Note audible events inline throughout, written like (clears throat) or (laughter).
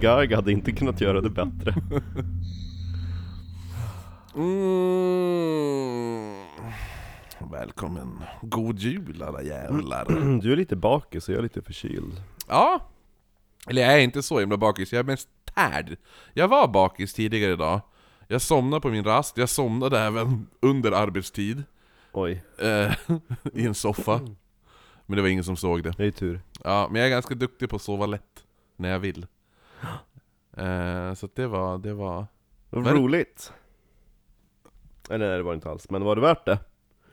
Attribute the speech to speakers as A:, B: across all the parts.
A: Gaga hade inte kunnat göra det (laughs) bättre.
B: Mm. Välkommen. God jul alla jävlar.
A: Mm, Du är lite bakis och jag är lite förkyld.
B: Ja. Eller jag är inte så himla bakis, jag är mest tärd. Jag var bakis tidigare idag. Jag somnade på min rast, jag somnade även under arbetstid.
A: Oj,
B: Eh, (laughs) I en soffa. Men det var ingen som såg det.
A: det är ju tur.
B: Ja, men jag är ganska duktig på att sova lätt. När jag vill. Eh, så att det var, det var...
A: Vad
B: Men-
A: roligt! Eller nej, det var det inte alls, men var det värt det?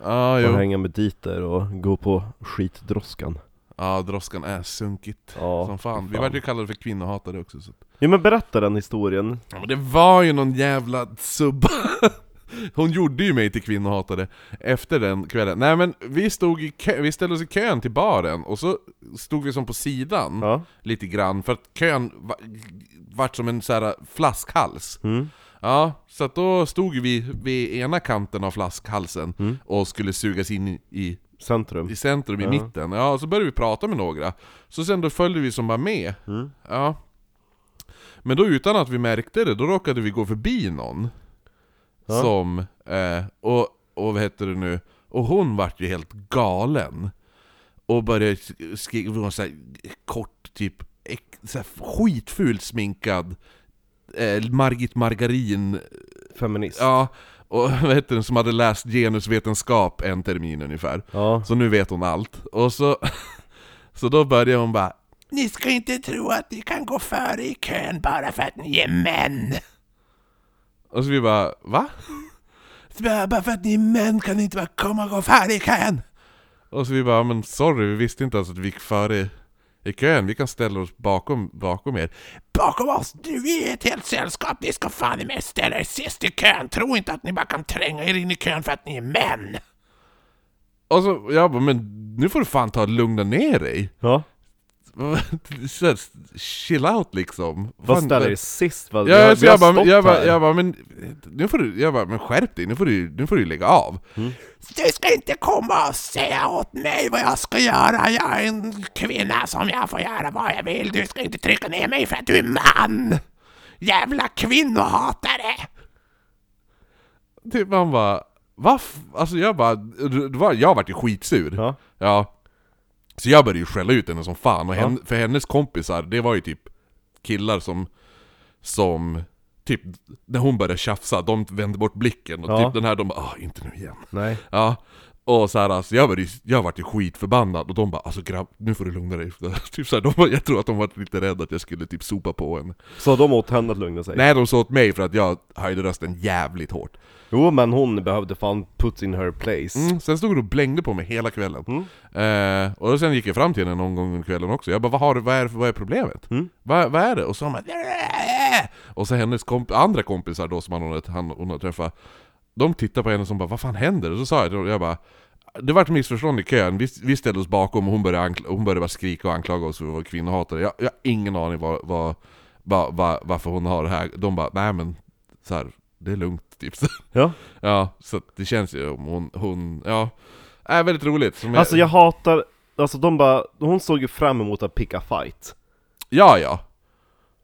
B: Ah,
A: Att
B: jo.
A: hänga med diter och gå på skitdroskan.
B: Ja, droskan är sunkigt.
A: Ja,
B: som fan. Vi
A: fan.
B: vart ju kallade för kvinnohatare också. Så. att-
A: Jo men berätta den historien.
B: Ja, men det var ju någon jävla subba. (laughs) Hon gjorde ju mig till kvinnohatare efter den kvällen. Nej men vi, stod i kö, vi ställde oss i kön till baren, och så stod vi som på sidan
A: Ja.
B: lite grann, för att kön va, vart som en så här flaskhals.
A: Mm.
B: Ja, så att då stod vi vid ena kanten av flaskhalsen och skulle sugas in i, i
A: Centrum.
B: i centrum, i mitten. Ja, och så började vi prata med några. Så sen då följde vi som bara med. Ja. Men då utan att vi märkte det, då råkade vi gå förbi någon.
A: Ja.
B: Som, eh, och, och vad heter det nu? Och hon vart ju helt galen. Och började sk- skriva hon var så här, kort, typ äck- så här, skitfult sminkad. Eh, Margit Margarin
A: Feminist.
B: Ja, och (laughs) vad heter den som hade läst genusvetenskap en termin ungefär.
A: Ja.
B: Så nu vet hon allt. Och så, (laughs) så då började hon bara Ni ska inte tro att ni kan gå före i kön bara för att ni är män! Och så vi bara, va? (laughs) Så bara, bara för att ni är män kan ni inte bara komma och gå före i kön! Och så vi bara, men sorry, vi visste inte ens att vi gick före i kön, vi kan ställa oss bakom, bakom er. Bakom oss? Du vi är ett helt sällskap, ni ska fan i mig ställa er sist i kön! Tro inte att ni bara kan tränga er in i kön för att ni är män! Och så, jag bara, men nu får du fan ta och lugna ner dig! (laughs)
A: ja.
B: Så här, Chill out liksom!
A: Vad
B: Fan,
A: ställer er sist? Vad,
B: Ja,
A: vi har,
B: så
A: vi har
B: jag, bara,
A: stått
B: jag, bara,
A: här.
B: jag bara, men nu får du, jag bara, men skärp dig, nu får du, nu får du lägga av.
A: Mm.
B: Du ska inte komma och säga åt mig vad jag ska göra, jag är en kvinna som jag får göra vad jag vill, du ska inte trycka ner mig för att du är man! Jävla kvinnohatare! Typ man bara, va? f- Alltså jag bara, det var- jag vart ju skitsur.
A: Ja.
B: Ja. Så jag började ju skälla ut henne som fan, och hen, för hennes kompisar, det var ju typ killar som... Som... Typ, när hon började tjafsa, de vände bort blicken och
A: Ja.
B: typ den här, de bara ah, inte nu igen.
A: Nej.
B: Ja. Och så här, alltså, jag, var ju, jag vart ju skitförbannad och de bara alltså grabb, nu får du lugna dig. (laughs) typ så här, de, var- jag tror att de var lite rädda att jag skulle typ sopa på henne.
A: Så de åt henne att lugna sig?
B: Nej, de sa åt mig för att jag höjde rösten jävligt hårt.
A: Jo men hon behövde fan put in her place.
B: Mm, sen stod hon och blängde på mig hela kvällen. Eh, och sen gick jag fram till henne någon gång under kvällen också. Jag bara, vad, har du, vad, är, det för- vad är problemet? Vad, vad är det? Och så hon bara, "Äh!" Och så hennes komp andra kompisar då som han, hon, han, hon har träffat, de tittar på henne som bara, vad fan händer? Och så sa jag, till- jag bara, det vart missförstånd i kön, vi, vi ställde oss bakom och hon började, ankl- hon började bara skrika och anklaga oss för att vara kvinnohatare. Jag, jag har ingen aning vad, vad, vad, vad, varför hon har det här. De bara, nej men, så här, det är lugnt typ. (laughs) Så
A: Ja.
B: Ja, så att det känns ju om hon, hon ja. Är väldigt roligt. Som
A: Alltså jag hatar, alltså de bara, hon såg ju fram emot att picka fight.
B: Ja, ja.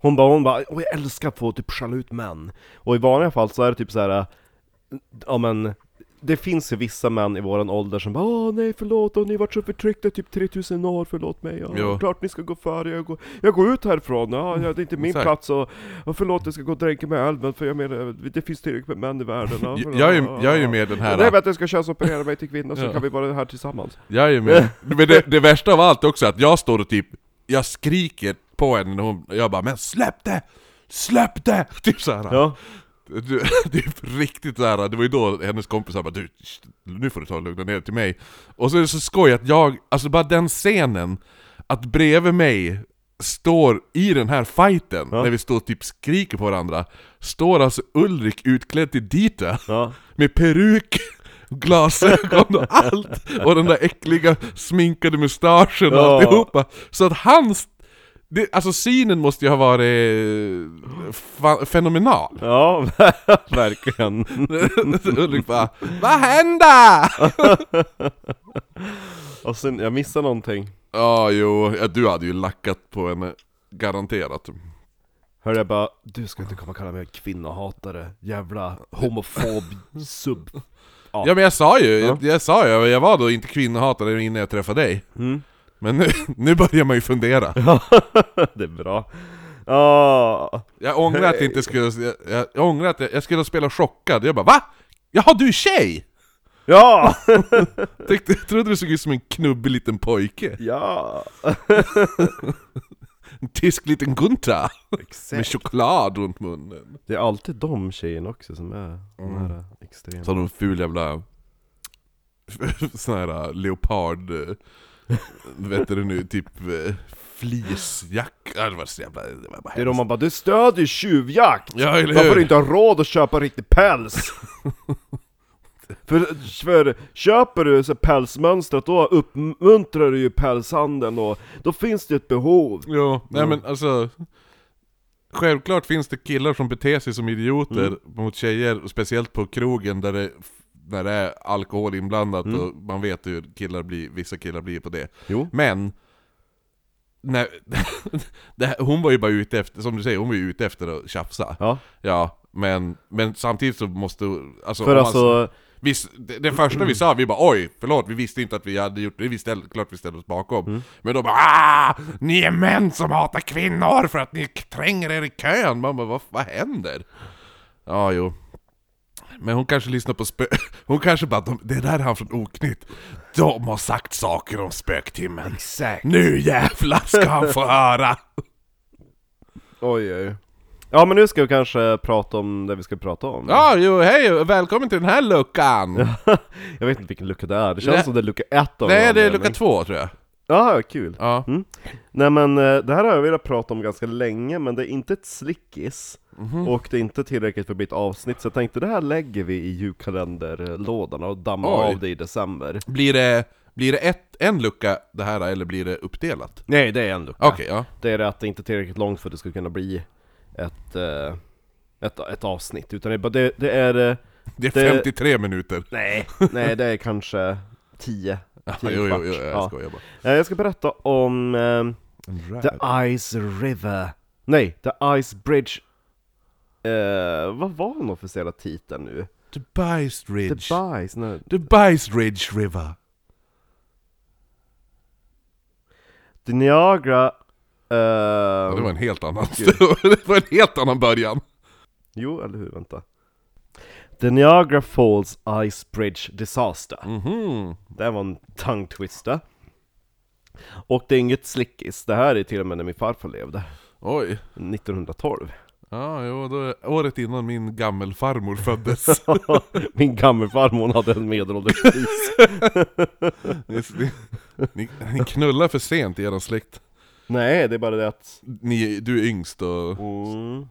A: Hon bara, hon bara, och jag älskar att få typ skälla ut män. Och i vanliga fall så är det typ så här. äh, ja men, det finns ju vissa män i våran ålder som bara Åh nej förlåt, och ni har varit så förtryckta i typ 3000 år, förlåt mig, ja,
B: Jo.
A: klart ni ska gå före, jag går, jag går ut härifrån, ja, ja, det är inte min
B: Exakt.
A: plats och, och förlåt jag ska gå och dränka mig i älven för jag menar, det finns tillräckligt med män i världen ja,
B: Jag, jag, är, ju- jag är ju med den
A: Nej men
B: här...
A: att jag ska könsoperera mig till kvinna så
B: Ja.
A: kan vi vara här tillsammans
B: Jag är ju med. Men det, det värsta av allt också är att jag står och typ, jag skriker på henne när hon, jag bara 'Men släpp det! Släpp det!' (laughs) Typ såhär.
A: Ja,
B: Du, (laughs) det är riktigt såhär, det var ju då hennes kompisar bara du, sh- nu får du ta och lugna ner dig till mig. Och så är det så skoj att jag, alltså bara den scenen, att bredvid mig står i den här fighten, när vi står och typ skriker på varandra, står alltså Ulrik utklädd till Dita.
A: ja,
B: Med peruk, (laughs) glasögon och allt! Och den där äckliga sminkade mustaschen och
A: Ja.
B: alltihopa! Så att hans Det, alltså synen måste ju ha varit eh, fa- fenomenal.
A: Ja, (laughs) verkligen.
B: (laughs) Ulrik bara Vad händer?
A: Och sen, jag missar någonting.
B: Ja, jo, ja, du hade ju lackat på henne. Garanterat.
A: Hörde jag bara, du ska inte komma och kalla mig kvinnohatare, jävla homofob sub... (laughs) Ja.
B: Ja men jag sa ju,
A: Ja.
B: jag, jag sa ju, jag var då inte kvinnohatare innan jag träffade dig.
A: Mm.
B: Men nu, nu börjar man ju fundera.
A: det är bra. Ja,
B: Jag ångrar
A: (laughs)
B: att jag inte skulle, jag, jag, jag ångrar att jag, jag skulle spela chockad. Jag bara VA? Jaha du är tjej?
A: ja,
B: Tänkte, jag (laughs) trodde du såg ut som en knubbig liten pojke.
A: ja.
B: En tysk liten Gunta. Med
A: Exakt.
B: choklad runt munnen.
A: Det är alltid de tjejerna också som är de här extrema.
B: Så har de en ful jävla... (laughs) Sån här äh, leopard... eh, (laughs) Vet du nu, typ eh, fleecejacka. Det var så jävla... Det var bara
A: Det är de man bara, du stödjer tjuvjakt!
B: Ja eller
A: Varför
B: hur?
A: du inte har råd att köpa riktig
B: (laughs)
A: päls? för, för köper du så här pälsmönstret, då uppmuntrar du ju pälshandeln och då finns det ett behov.
B: Jo, nej men alltså Självklart finns det killar som beter sig som idioter
A: Mm.
B: mot tjejer, och speciellt på krogen där det, när det är alkohol inblandat
A: Mm.
B: och man vet hur killar blir, vissa killar blir på det.
A: Jo.
B: Men, nej, (laughs) det här, hon var ju bara ute efter, som du säger, hon var ju ute efter att tjafsa.
A: Ja,
B: Ja, men, men samtidigt så måste, alltså,
A: för
B: om man-
A: alltså,
B: vi, s- det, det första vi sa, vi bara oj, förlåt, vi visste inte att vi hade gjort det, vi ställde, klart vi ställde oss bakom.
A: Mm.
B: Men då bara ah, ni är män som hatar kvinnor för att ni k- tränger er i kön. Man bara, vad, vad händer? Ja, jo. Men hon kanske lyssnar på spö... (laughs) Hon kanske bara, de, det där är han från Oknytt. De har sagt saker om spöktimmen.
A: exakt.
B: Nu jävlar ska han få höra!
A: Oj, oj. Ja men nu ska vi kanske prata om det vi ska prata om.
B: Ja, jo, hej och välkommen till den här luckan!
A: Jag vet inte vilken lucka det är, det känns
B: Nej.
A: som det är lucka ett av
B: Nej,
A: någon
B: det är lucka
A: anledning.
B: två tror jag.
A: Ja, kul.
B: Ja.
A: Nej men eh, det här har jag velat prata om ganska länge, men det är inte ett slickis
B: Mhm.
A: Och det är inte tillräckligt för mitt avsnitt, så jag tänkte det här lägger vi i julkalenderlådan och dammar
B: Oj.
A: av det i december
B: Blir det, blir det ett, en lucka det här eller blir det uppdelat?
A: Nej det är en lucka
B: Okej, ja.
A: Det är det att det inte är tillräckligt långt för att det ska kunna bli ett, eh, ett, ett avsnitt, utan det, är bara- det, det är...
B: (laughs)
A: eh,
B: Det är
A: Det-
B: 53 minuter. (laughs)
A: Nej, nej det är kanske 10, 10
B: Jo, jo, jo, jag
A: ja.
B: skojar bara.
A: Eh, Jag ska berätta om eh,
B: En rad.
A: The Ice River Nej, The Ice Bridge eh, Vad var den officiella titeln nu?
B: The Bice
A: The
B: Ridge.
A: Bice, nej.
B: The Bice Ridge River.
A: The Niagara eh,
B: Ja, det var en helt annan. (laughs) det var en helt annan början.
A: Jo, eller hur? Vänta The Niagara Falls Ice Bridge Disaster
B: Mhm.
A: Det här var en tongue twister Och det är inget slickis, det här är till och med när min farfar levde
B: Oj.
A: 1912
B: Ja, jo, då är året innan min gammelfarmor föddes.
A: (laughs) Min gammelfarmor hon hade en medelålderskris
B: (laughs) ni, ni, ni knullar för sent i eran släkt.
A: Nej, det är bara det att
B: Ni, du är yngst och...
A: Mm.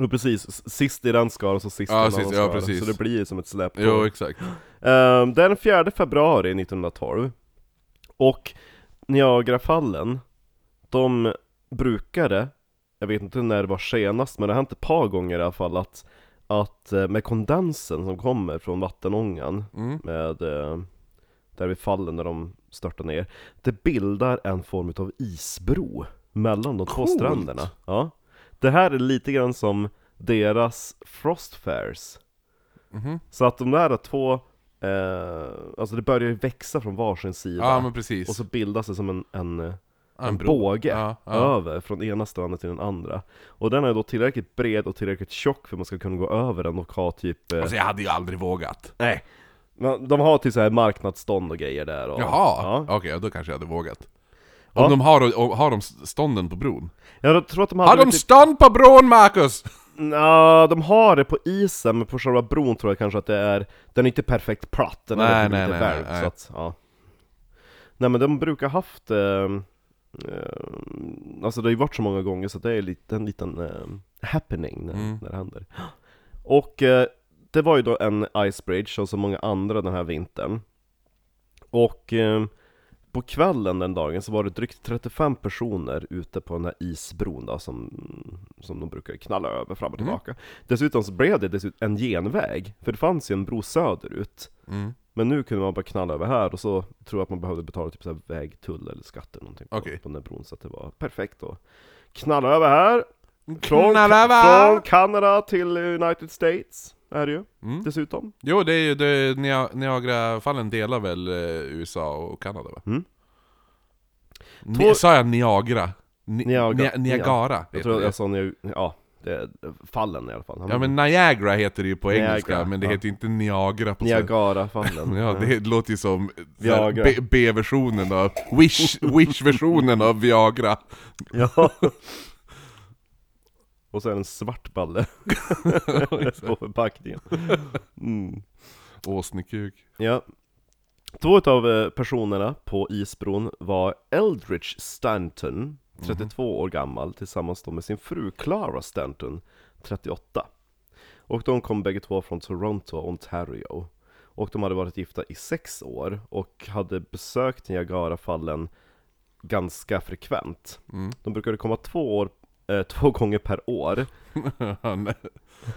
A: Och precis, s- sist i den skaran så sist i
B: Ja,
A: den
B: sist,
A: andra
B: ja,
A: skaran,
B: precis.
A: så det blir ju som ett släp
B: Jo, exakt.
A: Ehm, Den 4 februari 1912 Och Niagarafallen De brukade Jag vet inte när det var senast men det har hänt ett par gånger i alla fall att Att eh, med kondensen som kommer från vattenångan
B: Mm.
A: Med eh, Där vid fallen när de störtar ner Det bildar en form av isbro Mellan de två
B: Coolt.
A: stränderna ja. Det här är lite grann som deras frostfairs
B: Mhm.
A: så att de där två, eh, alltså det börjar ju växa från varsin sida
B: Ja, men precis.
A: Och så bildas det som en, en, en,
B: Ja, bro.
A: båge
B: Ja, ja.
A: över från ena stranden till den andra Och den är då tillräckligt bred och tillräckligt tjock för att man ska kunna gå över den och ha typ eh,
B: Alltså jag hade ju aldrig vågat.
A: Nej men De har typ så här marknadsstånd och grejer där och,
B: Jaha,
A: Ja.
B: okej då kanske jag hade vågat. Om
A: Ja.
B: de har, om, har de stånden på bron?
A: Jag tror att de
B: Har
A: hade
B: de
A: typ,
B: stånd på bron Marcus?
A: Nja, de har det på isen men på själva bron tror jag kanske att det är Den är inte perfekt platt, den
B: Nej,
A: är
B: nej,
A: lite
B: nej,
A: välvd
B: nej.
A: så att, ja Nej men de brukar haft eh, eh, Alltså det har ju varit så många gånger så det är lite, en liten eh, happening när, när det händer Och eh, det var ju då en icebridge och så många andra den här vintern Och eh, på kvällen den dagen så var det drygt 35 personer ute på den här isbron då, som, som de brukar knalla över fram och tillbaka. Dessutom så blev det dessut- en genväg, för det fanns ju en bro söderut.
B: Mm.
A: Men nu kunde man bara knalla över här och så tror jag att man behövde betala typ så här vägtull eller skatt eller någonting på,
B: Okej.
A: på den här bron, så att det var perfekt då. Knalla över här, från, från
B: Knallava!
A: Kanada till United States är det ju,
B: Mm.
A: dessutom.
B: Jo, det är ju det, Nia- Niagarafallen delar väl eh, USA och Kanada va?
A: Mm.
B: Ni,
A: Två-
B: sa jag Niagara? Ni,
A: Niaga-
B: Niagara, Niagara
A: Jag
B: heter
A: tror
B: det.
A: jag sa nu, ja, det, fallen i alla fall.
B: Ja men Niagara heter det ju på
A: Niagara,
B: engelska, men det
A: ja.
B: heter inte Niagara på svenska.
A: Niagarafallen.
B: (laughs) Ja, det låter ju som
A: Viagra.
B: B- B-versionen av, (laughs) Wish- Wish-versionen av Viagra.
A: (laughs) Ja. Och så är det en svart
B: (laughs)
A: balle (laughs) på förpackningen. Mm.
B: Åsnekuk.
A: Ja. Två av personerna på isbron var Eldridge Stanton, 32 år gammal, tillsammans då med sin fru Clara Stanton, 38. Och de kom bägge två från Toronto, Ontario. Och de hade varit gifta i sex år och hade besökt Niagarafallen ganska frekvent.
B: Mm. (laughs)
A: De brukade komma två, år, eh, (laughs) två gånger per år.
B: Han-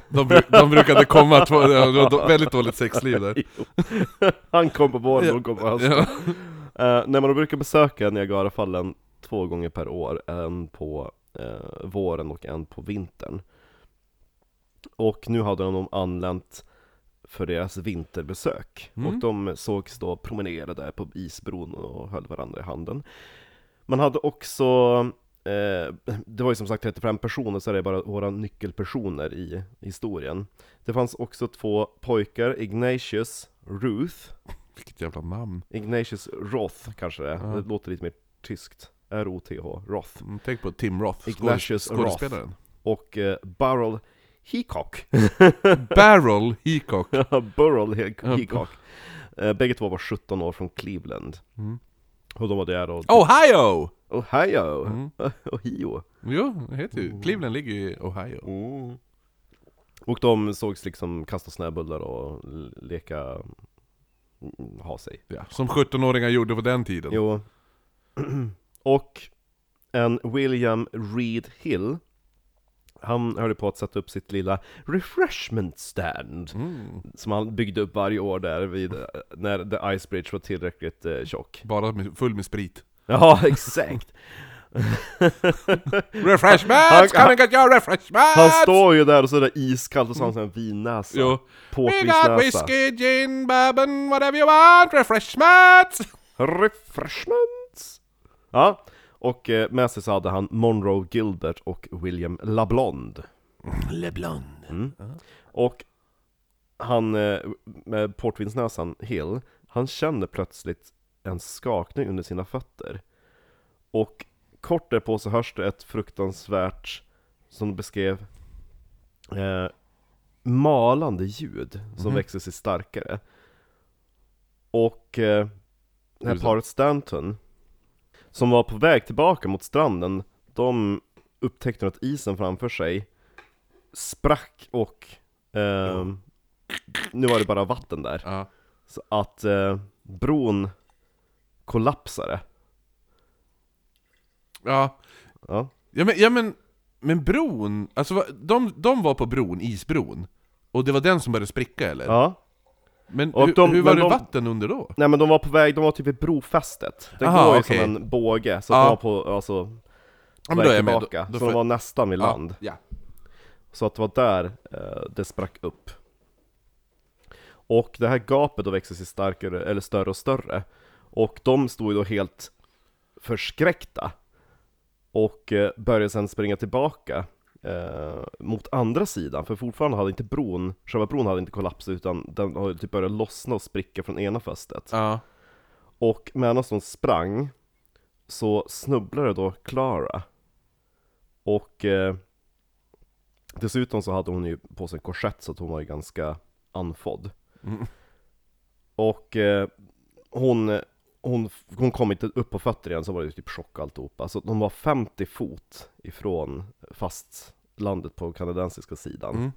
B: de, bru- de brukade komma, två, ja, det var väldigt dåligt sexliv där.
A: Han kom på våren, hon kom på hösten.
B: (laughs) Ja.
A: Eh, när man brukar besöka Niagarafallen två gånger per år, en på eh, våren och en på vintern. Och nu hade de anlänt för deras vinterbesök.
B: Mm.
A: Och de sågs då promenera där på isbron och höll varandra i handen. Man hade också, eh, det var ju som sagt 35 personer, så det är bara våra nyckelpersoner i historien. Det fanns också två pojkar, Ignatius Ruth,
B: Vilket jävla namn.
A: Ignatius Roth kanske det är,
B: Ja.
A: det låter lite mer tyskt. R-O-T-H, Roth.
B: Mm, Tänk på Tim Roth,
A: Ignatius
B: skådes- skådespelaren.
A: Och eh, Burrell
B: (laughs)
A: Heacock.
B: Barrel Heacock.
A: Burrell He- Heacock. Eh, bägge två var 17 år från Cleveland.
B: Mm.
A: Och de var där och...
B: Ohio!
A: Ohio!
B: Mm.
A: (laughs) Ohio.
B: Jo, det heter ju. Cleveland ligger ju i Ohio.
A: Och de sågs liksom kasta snöbullar och l- leka... mm, ha sig.
B: Ja, som 17-åringar gjorde på den tiden.
A: Jo. (clears throat) Och en William Reed Hill, han höll på att sätta upp sitt lilla refreshment stand,
B: Mm.
A: som han byggde upp varje år där vid, eh, när The Ice Bridge var tillräckligt eh, tjock.
B: Bara med, full med sprit.
A: Ja, (laughs) exakt! Han-
B: Refreshments! Come and get your refreshments!
A: Han står ju där och så är det iskallt och så har han sån här vinnäsa,
B: Jo. We got
A: påkvisnäsa.
B: whiskey, gin, bourbon, whatever you want, refreshments!
A: Refreshments! Ja, och eh, med sig så hade han Monroe Gilbert och William LaBlonde.
B: LeBlond.
A: Och han, eh, med portvinsnäsan Hill, han känner plötsligt en skakning under sina fötter. Och kort därpå så hörs det ett fruktansvärt, som de beskrev, eh, malande ljud som växer sig starkare. Och eh, det här
B: Just det.
A: paret Stanton, som var på väg tillbaka mot stranden, de upptäckte att isen framför sig sprack och ehm, nu var det bara vatten där.
B: Ja.
A: Så att eh, bron kollapsade.
B: Ja.
A: Ja.
B: Ja men, ja men, men bron, alltså va- de, de var på bron, isbron. Och det var den som började spricka eller?
A: ja.
B: Men
A: Och
B: hur,
A: de-
B: hur var
A: men
B: det
A: de-
B: vatten under då?
A: Nej men de var på väg, de var typ vid brofästet. Det
B: Aha,
A: går ju
B: okej.
A: som en båge, så
B: Ja.
A: att de var på, alltså, på
B: Ja, men
A: väg
B: då är jag med. Då-
A: tillbaka.
B: då
A: så
B: får-
A: de var nästan vid land.
B: Ja.
A: Så att det var där eh, det sprack upp. Och det här gapet då växte sig starkare, eller större och större. Och de stod ju då helt förskräckta. Och eh, började sedan springa tillbaka eh, mot andra sidan, för fortfarande hade inte bron, själva bron hade inte kollapsat utan den har ju typ börjat lossna och spricka från ena fästet.
B: Ja.
A: Och medan de sprang så snubblade då Clara. Och eh, dessutom så hade hon ju på sig en korsett så att hon var ju ganska anfodd.
B: Mm.
A: Och eh, hon, hon, hon kom inte upp på fötter igen så var det ju typ chock alltihopa. Så de var 50 fot ifrån fastlandet på kanadensiska sidan.
B: Mm.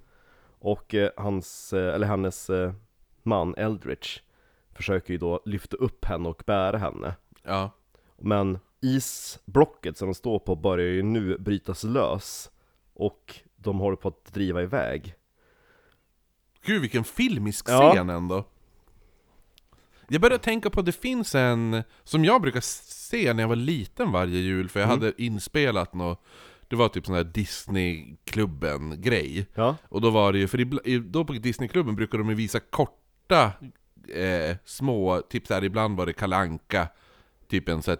A: Och eh, hans, eh, eller hennes eh, man Eldridge försöker ju då lyfta upp henne och bära henne.
B: Ja.
A: Men isblocket som de står på börjar ju nu brytas lös och de håller på att driva iväg.
B: Gud vilken filmisk
A: Ja.
B: scen ändå. Jag började tänka på att det finns en, som jag brukar se när jag var liten varje jul, för jag hade inspelat något, det var typ sån här Disneyklubben-grej.
A: Ja,
B: Och då var det ju, för ibla- i- då på Disneyklubben brukar de ju visa korta, eh, små, typ såhär ibland var det kalanka typ en såhär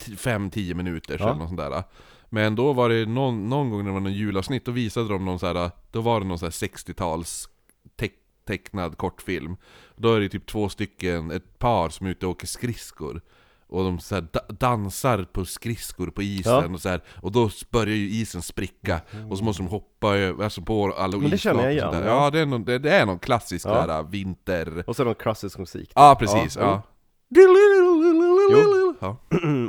B: 5-10 minuter
A: Ja.
B: eller något sånt där. Men då var det någon, någon gång när det var någon julavsnitt, då visade de någon såhär, då var det någon såhär 60-tals teck- tecknad kortfilm. Då är det typ två stycken, ett par som är ute och åker skridskor. Och de så här da- dansar på skridskor på isen
A: Ja. Mm.
B: och så här, Och då börjar ju isen spricka Och så måste de hoppa över, alltså på alla
A: Men det känner jag
B: isflak och sånt
A: igen,
B: där.
A: ja.
B: Ja, det är någon, det, det är någon klassisk
A: Ja.
B: där äh, vinter...
A: och sen någon klassisk musik. (clears throat)
B: Ja, precis.
A: Ja,
B: Ja.
A: Jo.
B: Ja.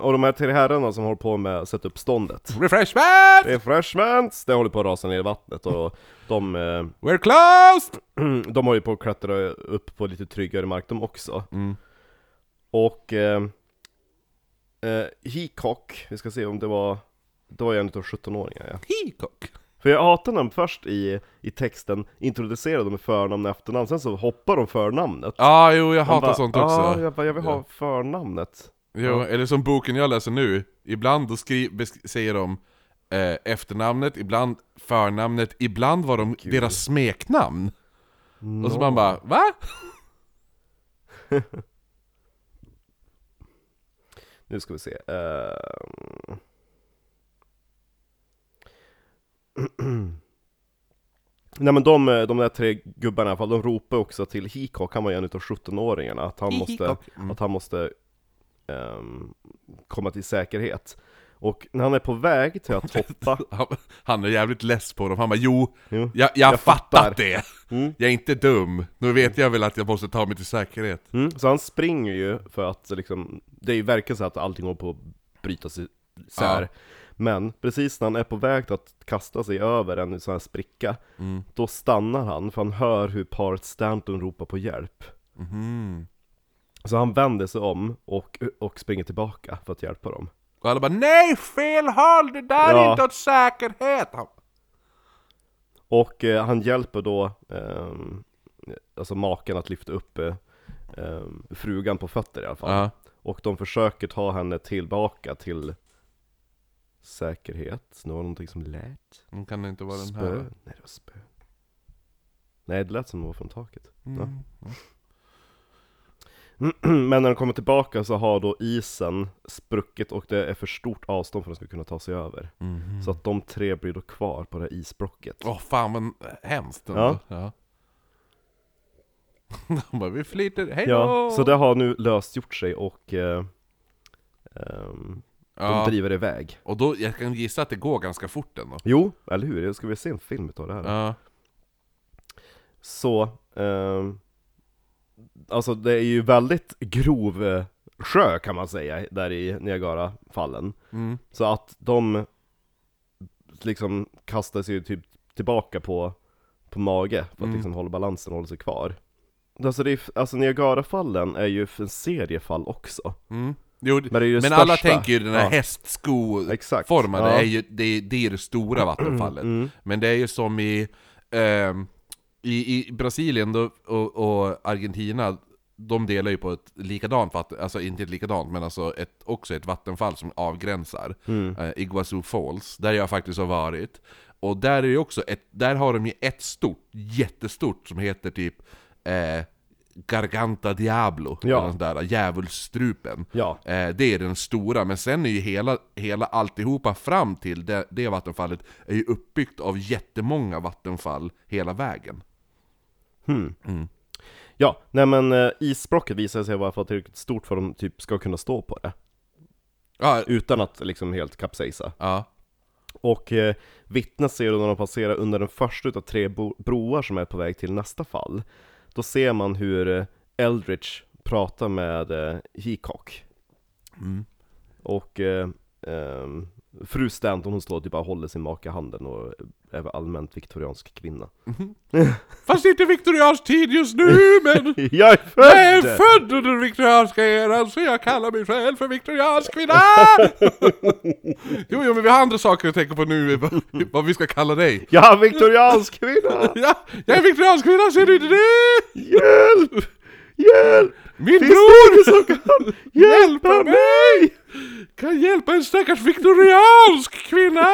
A: och de här tre herrarna som håller på med att sätta upp ståndet.
B: Refreshment!
A: Refreshments! Det håller på att rasa ner i vattnet och de, eh, (clears throat)
B: We're closed!
A: de håller ju på att klättra upp på lite tryggare mark de också. Och eh, eh, Hickok, vi ska se om det var, det var ju en utav 17-åringarna ja.
B: Peacock.
A: För jag hatar när de först i, i texten introducerar dem med förnamn och efternamn, sen så hoppar de förnamnet.
B: Ja, jo, jag hatar
A: bara,
B: sånt
A: "Ah,
B: också.
A: jag, bara, jag vill ha
B: Ja.
A: förnamnet.
B: Jo, eller som boken jag läser nu. Ibland då skri- besk- säger de eh, efternamnet, ibland förnamnet, ibland var de deras smeknamn. Och så man bara, va? (laughs)
A: Nu ska vi se. ehm. (clears throat) Nej men de, de där tre gubbarna i alla fall, de ropar också till Hikok, han var ju en utav 17-åringarna, att han måste,
B: Hickok. Mm.
A: att han måste ehm, komma till säkerhet. Och när han är på väg till att
B: (laughs)
A: hoppa,
B: Han, han är jävligt less på dem, han bara jo,
A: Jo,
B: jag, jag,
A: jag
B: fattat
A: fattar." Mm.
B: det! Jag är inte dum, nu vet jag väl att jag måste ta mig till säkerhet.
A: mm, så han springer ju för att liksom, det är ju verkligen så att allting håller på att brytas isär.
B: Ja.
A: Men precis när han är på väg till att kasta sig över en sån här spricka, då stannar han för han hör hur paret Stanton ropar på hjälp. Så han vänder sig om och, och springer tillbaka för att hjälpa dem.
B: Och alla bara nej, fel håll, det där
A: Ja.
B: är inte åt säkerhet! Han,
A: Och eh, han hjälper då ehm, alltså maken att lyfta upp eh, ehm, frugan på fötter i alla fall.
B: Ja.
A: Och de försöker ta henne tillbaka till säkerhet. Nu var det någonting som lät.
B: "Nu kan det inte vara den
A: Spö?
B: här.
A: Nej det var spö. Nej det lät som det var från taket. (clears throat) Ja.
B: Mm.
A: Men när de kommer tillbaka så har då isen spruckit och det är för stort avstånd för att de ska kunna ta sig över. Så att de tre blir då kvar på det här isblocket.
B: Mm. Åh fan vad hemskt
A: Ja.
B: ändå. Ja. (laughs) De bara vi flyter, hej
A: Ja,
B: då!
A: så det har nu löst gjort sig och eh, ehm, de
B: Ja,
A: driver iväg.
B: Och då, jag kan gissa att det går ganska fort ändå.
A: Jo, eller hur? Jag ska vi se en film utav det här?
B: Ja.
A: Så, ehm, alltså det är ju väldigt grov eh, sjö kan man säga där i Niagarafallen.
B: Mm.
A: Så att de liksom kastar sig ju typ tillbaka på, på mage för att
B: Mm.
A: liksom hålla balansen och hålla sig kvar. Alltså, det är, alltså Niagarafallen är ju en serie fall också.
B: Mm. Jo, det-
A: Men det är ju det
B: Men alla
A: största.
B: tänker ju den här
A: Ja. Exakt.
B: hästskoformade,
A: Ja.
B: är ju, det, är- det är det stora vattenfallet.
A: Mm.
B: Men det är ju som i, ehm, i, i Brasilien då, och, och Argentina, de delar ju på ett likadant vatten, alltså inte ett likadant, men alltså ett, också ett vattenfall som avgränsar.
A: Mm.
B: Eh, Iguazu Falls, där jag faktiskt har varit. Och där är det ju också ett, där har de ju ett stort, jättestort som heter typ eh, Garganta Diablo,
A: Ja.
B: eller något sånt där, djävulsstrupen.
A: Ja.
B: Eh, det är den stora, men sen är ju hela, hela alltihopa fram till det, det vattenfallet är ju uppbyggt av jättemånga vattenfall hela vägen.
A: hmm.
B: Mm.
A: Ja, nej men eh, isblocket visar sig vara för tillräckligt stort för att de typ ska kunna stå på det.
B: Ja,
A: Utan att liksom helt kapsejsa.
B: ja.
A: Och eh, vittnet ser då när de passerar under den första utav tre bo- broar som är på väg till nästa fall. Då ser man hur eh, Eldritch
B: Mm.
A: pratar med eh, Heacock. Och eh, ehm, Fru Stanton hon står och typ bara håller sin make i handen och är allmänt viktoriansk kvinna.
B: Fast det är inte viktoriansk tid just nu men
A: (laughs) Jag är
B: jag är
A: född!
B: född under viktorianska eran så jag kallar mig själv för
A: (laughs)
B: viktoriansk kvinna! jo, jo men vi har andra saker att tänka på nu, (laughs) vad- vad vi ska kalla dig.
A: Jag är viktoriansk (laughs) kvinna!
B: Ja, jag är viktoriansk kvinna, ser du inte det?
A: Hjälp! Hjälp!
B: Min
A: Finns
B: bror!
A: det ingen som kan hjälpa mig?
B: Kan hjälpa en stackars viktoriansk kvinna!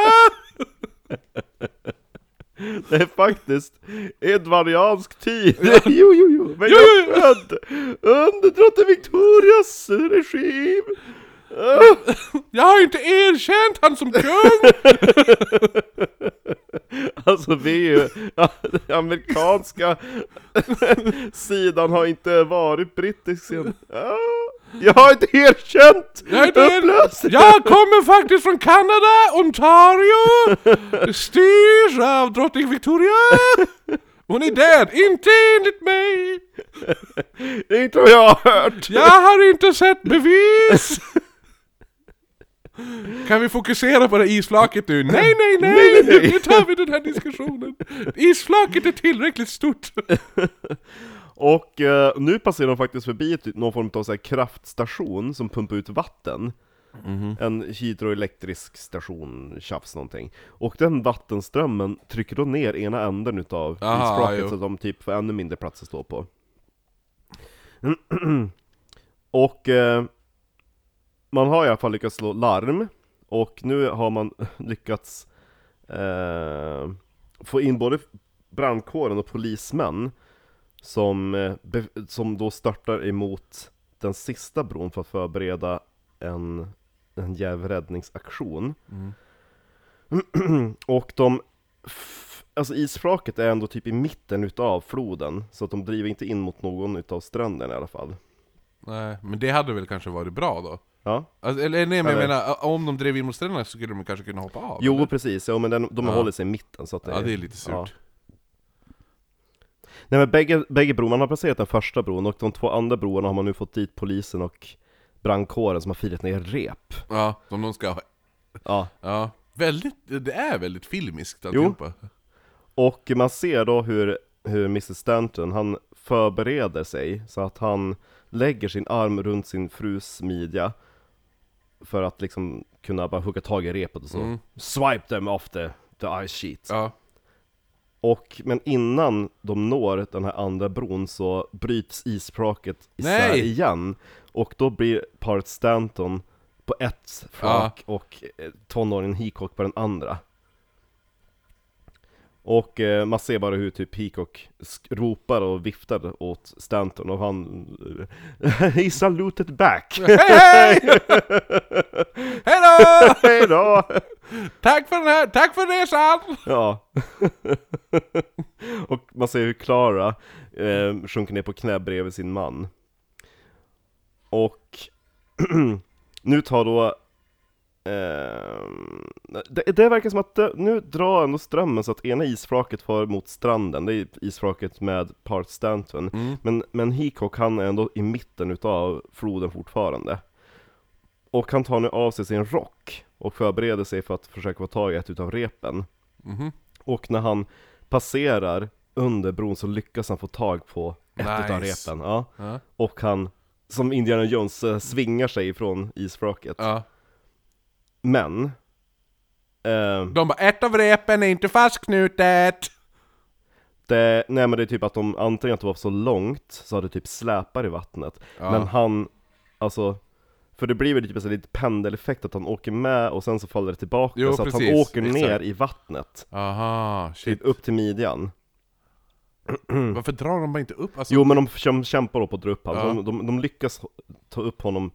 A: Det är faktiskt edvardiansk tid! (laughs) Jo, jo, jo! Men
B: Jo,
A: jag
B: jo, jo.
A: är född under drottning Victorias regim! (laughs) Ah,
B: Jag har inte erkänt han som kung!
A: Alltså vi är ju... (laughs) ja, den Amerikanska (laughs) sidan har inte varit brittisk sen... Ah, Jag har inte erkänt
B: Jag, heter,
A: upplösningen!
B: jag kommer faktiskt från Kanada, Ontario! Styrs av drottning Victoria! Hon är död, inte enligt mig!
A: Det tror jag har hört!
B: Jag har inte sett bevis! Kan vi fokusera på det isflaket nu? Nej, nej, nej!
A: Nej, nej, nej.
B: Nu tar vi den här diskussionen! Isflaket är tillräckligt stort!
A: Och eh, nu passerar de faktiskt förbi ett, någon form av så här kraftstation som pumpar ut vatten.
B: Mhm.
A: En hydroelektrisk station, tjafs någonting. Och den vattenströmmen trycker då ner ena änden utav
B: Aha,
A: isflaket
B: jo.
A: så att de typ får ännu mindre plats att stå på. (clears throat) och eh, man har i alla fall lyckats slå larm, och nu har man (laughs) lyckats eh, få in både brandkåren och polismän som, eh, be, som då startar emot den sista bron för att förbereda en, en jävräddningsaktion.
B: Mm.
A: (clears throat) och de, f- alltså isflaket är ändå typ i mitten utav floden, så att de driver inte in mot någon utav stränderna i alla fall.
B: Nej, men det hade väl kanske varit bra då?
A: Ja,
B: Alltså, eller nej, men jag
A: Eller?
B: menar, ä- om de drev in mot stränderna så skulle de kanske kunna hoppa av?
A: jo
B: eller?
A: precis, ja, men den, de
B: Ja.
A: håller sig i mitten så att det,
B: Ja, det är lite
A: ja.
B: surt.
A: Nej men bägge, bägge broarna, man har passerat den första bron och de två andra broarna har man nu fått dit polisen och brandkåren som har filat ner rep.
B: Ja, som de ska ha.
A: Ja.
B: Ja. Väldigt, det är väldigt filmiskt alltihopa.
A: Och man ser då hur, hur Mrs Stanton, han förbereder sig så att han lägger sin arm runt sin frus midja för att liksom kunna bara hugga tag i repet och så Swipe them off the, the ice sheet.
B: Ja.
A: Och, men innan de når den här andra bron så bryts isflaket isär
B: Nej!
A: igen Och då blir paret Stanton på ett flak och eh, tonåringen Hickok på den andra Och eh, man ser bara hur typ Hickok sk- ropar och viftar åt Stanton och han... (laughs) He saluted back!
B: Hej
A: (laughs)
B: hej! Hejdå!
A: Hej då!
B: Tack för den här, tack för resan!
A: Ja. (laughs) och man ser hur Clara eh, sjunker ner på knä bredvid sin man. Och (clears throat) nu tar då... Eh, det, det verkar som att det, nu drar ändå strömmen så att ena isflaket far mot stranden, det är isflaket med Part Stanton. Men, men Hickok han är ändå i mitten utav floden fortfarande. Och han tar nu av sig sin rock och förbereder sig för att försöka få tag i ett utav repen. Och när han passerar under bron så lyckas han få tag på ett
B: Nice.
A: utav repen. Ja.
B: Ja.
A: Och han, som Indiana Jones, eh, svingar sig ifrån isflaket.
B: Ja.
A: Men... Eh,
B: De bara, ett av repen är inte fastknutet!
A: det, nej men det är typ att de, antingen att det var så långt, så hade det typ släpar i vattnet.
B: Ja.
A: Men han, alltså... För det blir väl typ en sån här liten pendeleffekt att han åker med och sen så faller det tillbaka,
B: Jo,
A: så att han
B: precis,
A: åker
B: exakt.
A: ner i vattnet.
B: Aha, shit.
A: Typ upp till midjan.
B: Varför drar de bara inte upp? Alltså,
A: Mm. Jo men de käm- kämpar upp och drar upp honom,
B: Ja.
A: Så de, de, de lyckas ho- ta upp honom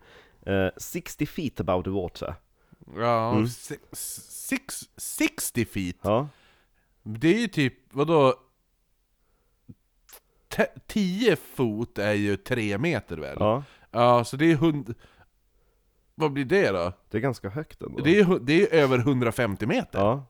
A: eh, 60 feet above the water.
B: ja,
A: Mm.
B: six, six, 60 feet?
A: Ja.
B: Det är ju typ, vadå? Te- 10 fot är ju 3 meter väl?
A: ja.
B: Ja, så det är hund... Vad blir det då?
A: Det är ganska högt ändå.
B: Det är, ju hu- det är över 150 meter.
A: Ja.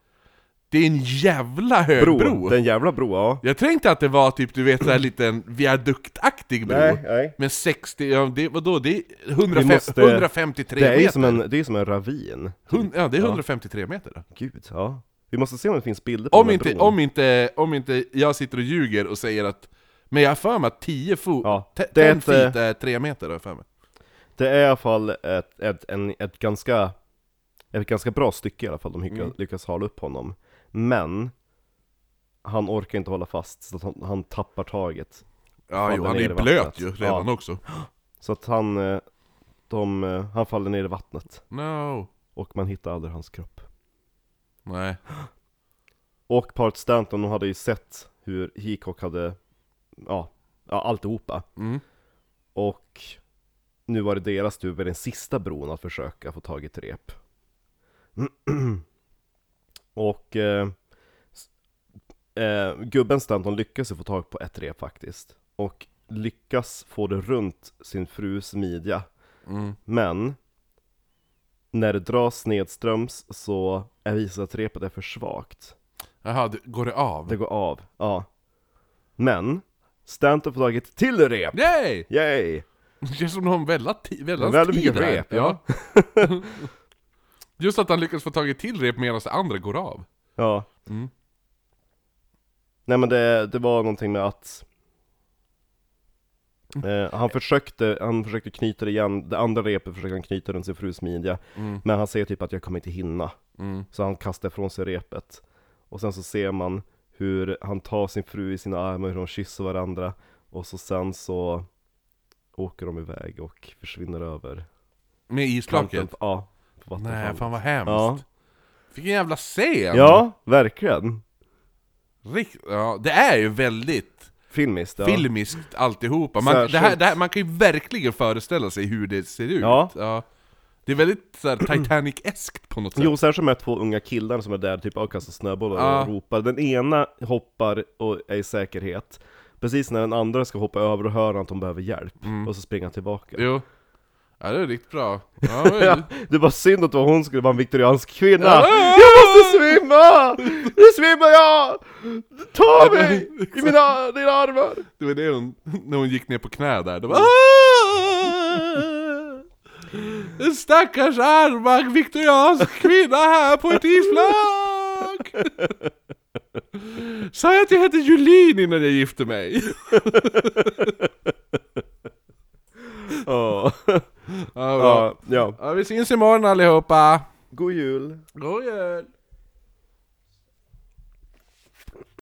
B: Det är en jävla högbro!
A: Bro, det är en jävla bro, ja.
B: Jag tänkte att det var typ, du vet, såhär liten viaduktaktig bro
A: Nej, nej.
B: Men 60, ja, det, vadå? Det är 150,
A: Vi måste-
B: 153
A: Det är ju
B: meter!
A: som en, det är ju som en ravin.
B: Hun- ja, det är 153 meter då.
A: Gud, ja. Vi måste se om det finns bilder på
B: Om
A: den här
B: inte,
A: bron.
B: om, inte, om inte jag sitter och ljuger och säger att Men jag har för mig att 10 fot,
A: Ja,
B: te-
A: det är
B: 10
A: ett,
B: feet är eh, 3 meter har jag för mig
A: Det är i alla fall ett, ett, en, ett ganska Ett ganska bra stycke i alla fall de lyckas,
B: Mm.
A: lyckas hala upp honom Men Han orkar inte hålla fast så att han, han tappar taget
B: Ja, jo,
A: faller
B: han
A: ner
B: är ju
A: i vattnet.
B: blöt ju redan
A: Ja.
B: också
A: Så att han eh, de, eh, Han faller ner i vattnet
B: No,
A: Och man hittar aldrig hans kropp
B: nej
A: Och paret Stanton de hade ju sett hur Hickok hade Ja, ja alltihopa
B: mm.
A: Och nu var det deras tur vid den sista bron att försöka få tag i ett rep. (clears throat) och eh, s- eh, gubben Stanton lyckas ju få tag på ett rep faktiskt. Och lyckas få det runt sin frus midja.
B: Mm.
A: Men när det dras nedströms så är visar att repet är för svagt.
B: Jaha, det, går det av?
A: Det går av, ja. Men Stanton får tag i ett till rep!
B: Yay!
A: Yay!
B: Det känns som någon väldigt ti- väldans
A: Väldigt
B: tid
A: mycket
B: här.
A: rep,
B: ja. (laughs) Just att han lyckas få tag i till rep medan det andra går av
A: Ja.
B: Mm.
A: Nej men det, det var någonting med att
B: Mm.
A: eh, han, försökte, han försökte knyta det igen, det andra repet försökte han knyta runt sin frus midja
B: Mm.
A: Men han säger typ att jag kommer inte hinna,
B: mm.
A: så han kastar ifrån sig repet Och sen så ser man hur han tar sin fru i sina armar, hur de kysser varandra Och så sen så åker de iväg och försvinner över
B: Med isflaket?
A: kanten- Ja, på
B: Nej,
A: vattenfallet
B: fan vad hemskt
A: Ja.
B: Vilken jävla scen!
A: Ja, verkligen!
B: Rikt, ja, det är ju väldigt
A: Filmiskt ja.
B: filmiskt alltihopa. Man,
A: Särskilt.
B: det här, det här, man kan ju verkligen föreställa sig hur det ser ut.
A: Ja.
B: Det är väldigt så här, Titanic-eskt på något sätt.
A: Jo, särskilt de här två unga killarna som är där typ och kastar snöbollar
B: Ja.
A: och ropar. Den ena hoppar och är i säkerhet. Precis när den andra ska hoppa över och hör han att de behöver hjälp. Och så springer han tillbaka.
B: Jo. Ja, det är riktigt bra.
A: (laughs)
B: Ja, det är-
A: Det var synd att det var hon skulle vara en viktoriansk kvinna.
B: Ja.
A: Jag måste svimma! Nu svimmar jag! Ta mig! I mina, dina armar!
B: det var det hon, när hon gick ner på knä där. Det var
A: Mm.
B: Ah! En stackars armar viktoriansk kvinna här på ett isflak! Sa jag att jag hette Julin innan jag gifte mig?
A: Ja.
B: Ja, bra.
A: Ja, ja.
B: Ja, vi syns imorgon allihopa!
A: God jul!
B: God jul!